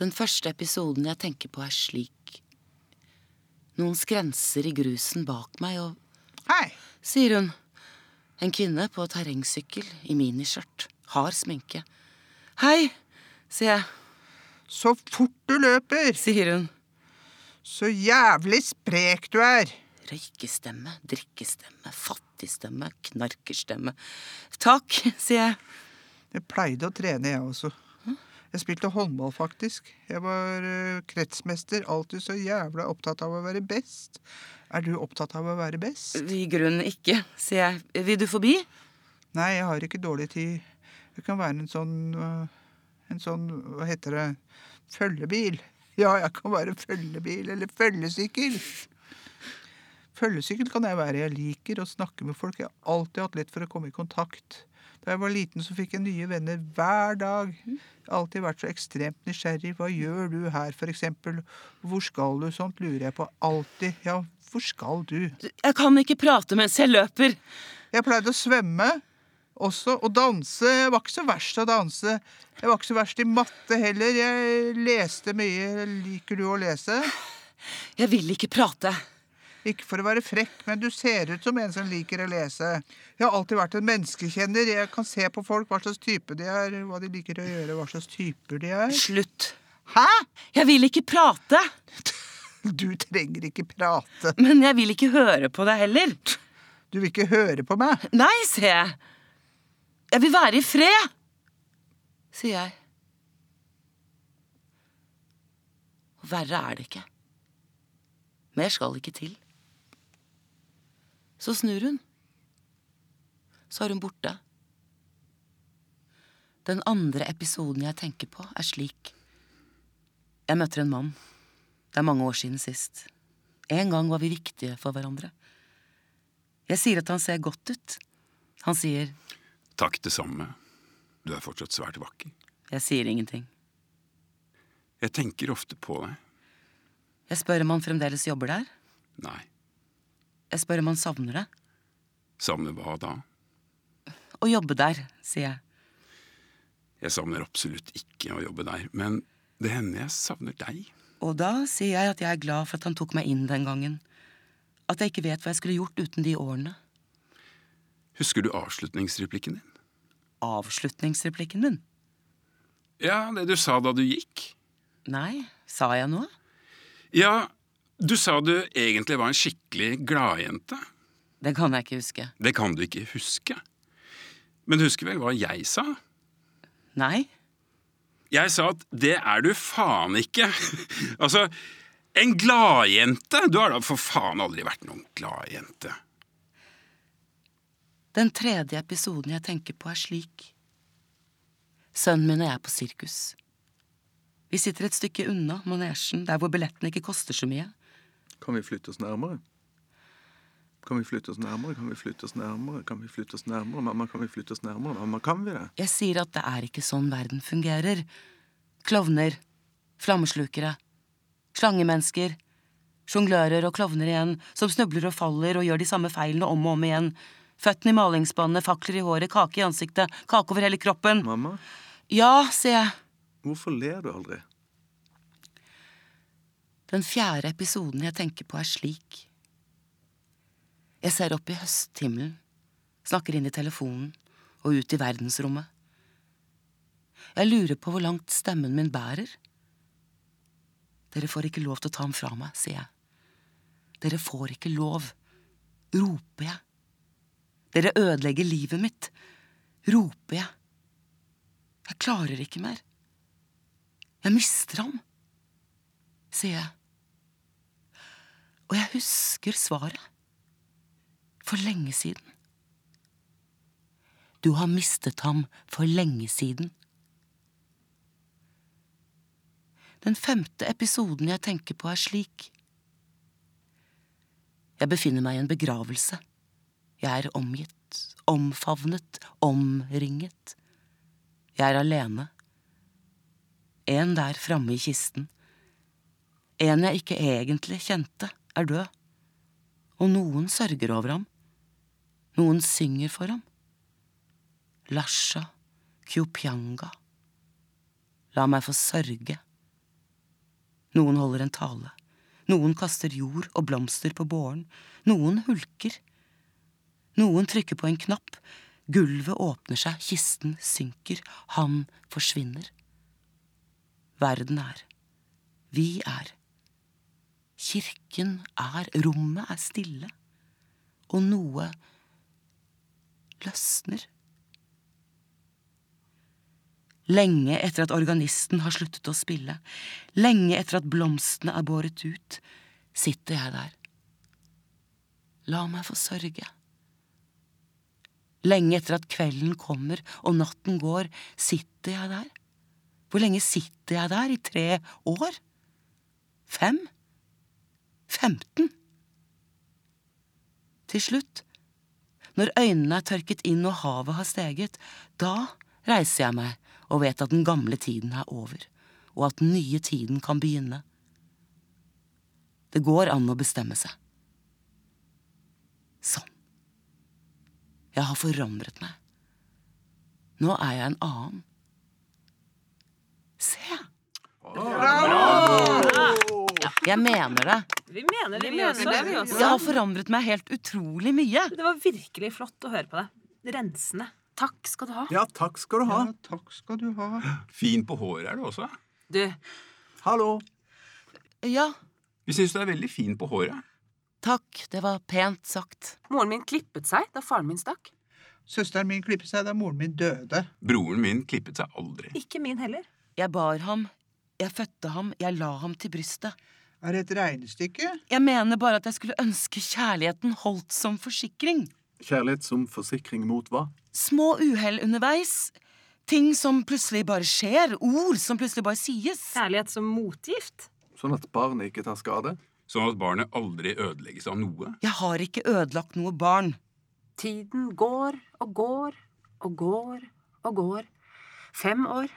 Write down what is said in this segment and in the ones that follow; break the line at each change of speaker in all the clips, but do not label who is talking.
Den første episoden jeg tenker på, er slik. Noen skrenser i grusen bak meg, og
Hei.
sier hun. En kvinne på terrengsykkel i miniskjørt. Hard sminke. Hei, sier jeg,
Så fort du løper.
sier hun.
Så jævlig sprek du er.
Røykestemme, drikkestemme, fattigstemme, knarkerstemme. Takk, sier jeg.
Jeg pleide å trene, jeg også. Jeg spilte håndball, faktisk. Jeg var eh, kretsmester. Alltid så jævla opptatt av å være best. Er du opptatt av å være best?
I grunnen ikke, sier jeg. Vil du forbi?
Nei, jeg har ikke dårlig tid. Jeg kan være en sånn eh, En sånn, hva heter det Følgebil. Ja, jeg kan være følgebil eller følgesykkel. Følgesykkel kan jeg være. Jeg liker å snakke med folk. Jeg har alltid hatt lett for å komme i kontakt. Da jeg var liten, så fikk jeg nye venner hver dag. Jeg har alltid vært så ekstremt nysgjerrig. Hva gjør du her, f.eks.? Hvor skal du? Sånt lurer jeg på alltid. Ja, hvor skal du?
Jeg kan ikke prate mens jeg løper.
Jeg pleide å svømme også, og danse. Jeg var ikke så verst til å danse. Jeg var ikke så verst i matte heller. Jeg leste mye. Liker du å lese?
Jeg vil ikke prate.
Ikke for å være frekk, men du ser ut som en som liker å lese. Jeg har alltid vært en menneskekjenner. Jeg kan se på folk hva slags type de er, hva de liker å gjøre, hva slags typer de er.
Slutt.
Hæ?!
Jeg vil ikke prate,
Du trenger ikke prate.
men jeg vil ikke høre på deg heller.
Du vil ikke høre på meg.
Nei, sier jeg. Jeg vil være i fred, sier jeg. Og verre er det ikke. Mer skal ikke til. Så snur hun. Så er hun borte. Den andre episoden jeg tenker på, er slik. Jeg møter en mann. Det er mange år siden sist. En gang var vi viktige for hverandre. Jeg sier at han ser godt ut. Han sier
Takk, det samme. Du er fortsatt svært vakker.
Jeg sier ingenting.
Jeg tenker ofte på deg.
Jeg spør om han fremdeles jobber der.
Nei,
Jeg spør om han savner det.
savner hva da?
Å jobbe der, sier jeg.
Jeg savner absolutt ikke å jobbe der, men det hender jeg savner deg.
Og da sier jeg at jeg er glad for at han tok meg inn den gangen. At jeg ikke vet hva jeg skulle gjort uten de årene.
Husker du avslutningsreplikken din?
Avslutningsreplikken min.
Ja, det du sa da du gikk.
Nei, sa jeg noe?
Ja, du sa du egentlig var en skikkelig gladjente.
Det kan jeg ikke huske.
Det kan du ikke huske. Men du husker vel hva jeg sa?
Nei.
Jeg sa at det er du faen ikke. altså, en gladjente? Du har da for faen aldri vært noen gladjente.
Den tredje episoden jeg tenker på, er slik. Sønnen min og jeg er på sirkus. Vi sitter et stykke unna manesjen, der hvor billettene ikke koster så mye.
Kan vi flytte oss nærmere? Kan vi flytte oss nærmere? Kan vi flytte oss nærmere? Kan vi flytte oss nærmere? Mamma, kan vi flytte oss nærmere? Mamma, kan vi det?
Jeg sier at det er ikke sånn verden fungerer. Klovner, flammeslukere, slangemennesker, sjonglører og klovner igjen, som snubler og faller og gjør de samme feilene om og om igjen. Føttene i malingsspannet, fakler i håret, kake i ansiktet, kake over hele kroppen.
Mamma,
Ja, sier jeg.
hvorfor ler du aldri?
Den fjerde episoden jeg tenker på, er slik. Jeg ser opp i høsthimmelen, snakker inn i telefonen og ut i verdensrommet. Jeg lurer på hvor langt stemmen min bærer. Dere får ikke lov til å ta ham fra meg, sier jeg. Dere får ikke lov, roper jeg. Dere ødelegger livet mitt, roper jeg. Jeg klarer ikke mer. Jeg mister ham sier jeg. Og jeg husker svaret. For lenge siden. Du har mistet ham for lenge siden. Den femte episoden jeg tenker på, er slik. Jeg befinner meg i en begravelse. Jeg er omgitt, omfavnet, omringet. Jeg er alene. En der framme i kisten. En jeg ikke egentlig kjente, er død. Og noen sørger over ham. Noen synger for ham. Lasha, Kyopyanga. La meg få sørge. Noen holder en tale. Noen kaster jord og blomster på båren. Noen hulker. Noen trykker på en knapp. Gulvet åpner seg, kisten synker, han forsvinner. Verden er. Vi er. Kirken er. Rommet er stille. Og noe løsner. Lenge etter at organisten har sluttet å spille, lenge etter at blomstene er båret ut, sitter jeg der. La meg få sørge. Lenge etter at kvelden kommer og natten går, sitter jeg der. Hvor lenge sitter jeg der? I tre år? Fem? Femten? Til slutt, når øynene er tørket inn og havet har steget, da reiser jeg meg og vet at den gamle tiden er over, og at den nye tiden kan begynne. Det går an å bestemme seg. Sånn. Jeg har forandret meg. Nå er jeg en annen. Se! Jeg mener det.
Vi mener det, vi, også.
mener det, vi også.
Jeg har forandret meg helt utrolig mye.
Det var virkelig flott å høre på deg. Rensende.
Takk skal du ha.
Ja, takk skal du ha.
Ja, takk skal du ha.
Fin på håret er du også.
Du,
Hallo.
Ja,
Vi syns du er veldig fin på håret.
takk. Det var pent sagt.
moren min klippet seg da faren min stakk.
Søsteren min klippet seg da moren min døde.
Broren min klippet seg aldri.
Ikke min heller.
Jeg bar ham. Jeg fødte ham. Jeg la ham til brystet.
Er det et regnestykke?
Jeg mener bare at jeg skulle ønske kjærligheten holdt som forsikring.
Kjærlighet som forsikring mot hva?
Små uhell underveis. Ting som plutselig bare skjer. Ord som plutselig bare sies.
Kjærlighet som motgift.
Sånn at barnet ikke tar skade?
Sånn at barnet aldri ødelegges av noe.
Jeg har ikke ødelagt noe barn.
Tiden går og går og går og går. Fem år.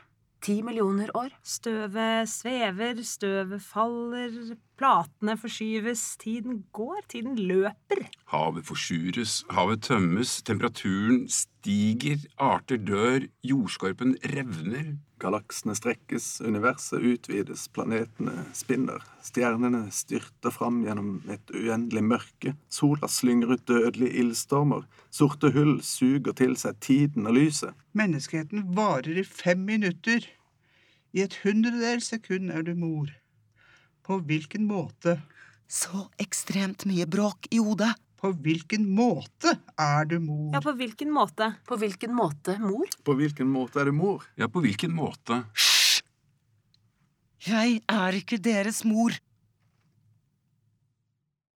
Ti millioner år.
Støvet svever, støvet faller, platene forskyves, tiden går, tiden løper.
Havet forsures, havet tømmes, temperaturen stiger, arter dør, jordskorpen revner.
Galaksene strekkes, universet utvides, planetene spinner, stjernene styrter fram gjennom et uendelig mørke, sola slynger ut dødelige ildstormer, sorte hull suger til seg tiden og lyset.
Menneskeheten varer i fem minutter. I et hundredel sekund er du mor. På hvilken måte?
Så ekstremt mye bråk i hodet.
På hvilken måte er du mor?
Ja, på hvilken måte?
På hvilken måte, mor?
På hvilken måte er det mor?
Ja, på hvilken måte?
Jeg er ikke deres mor.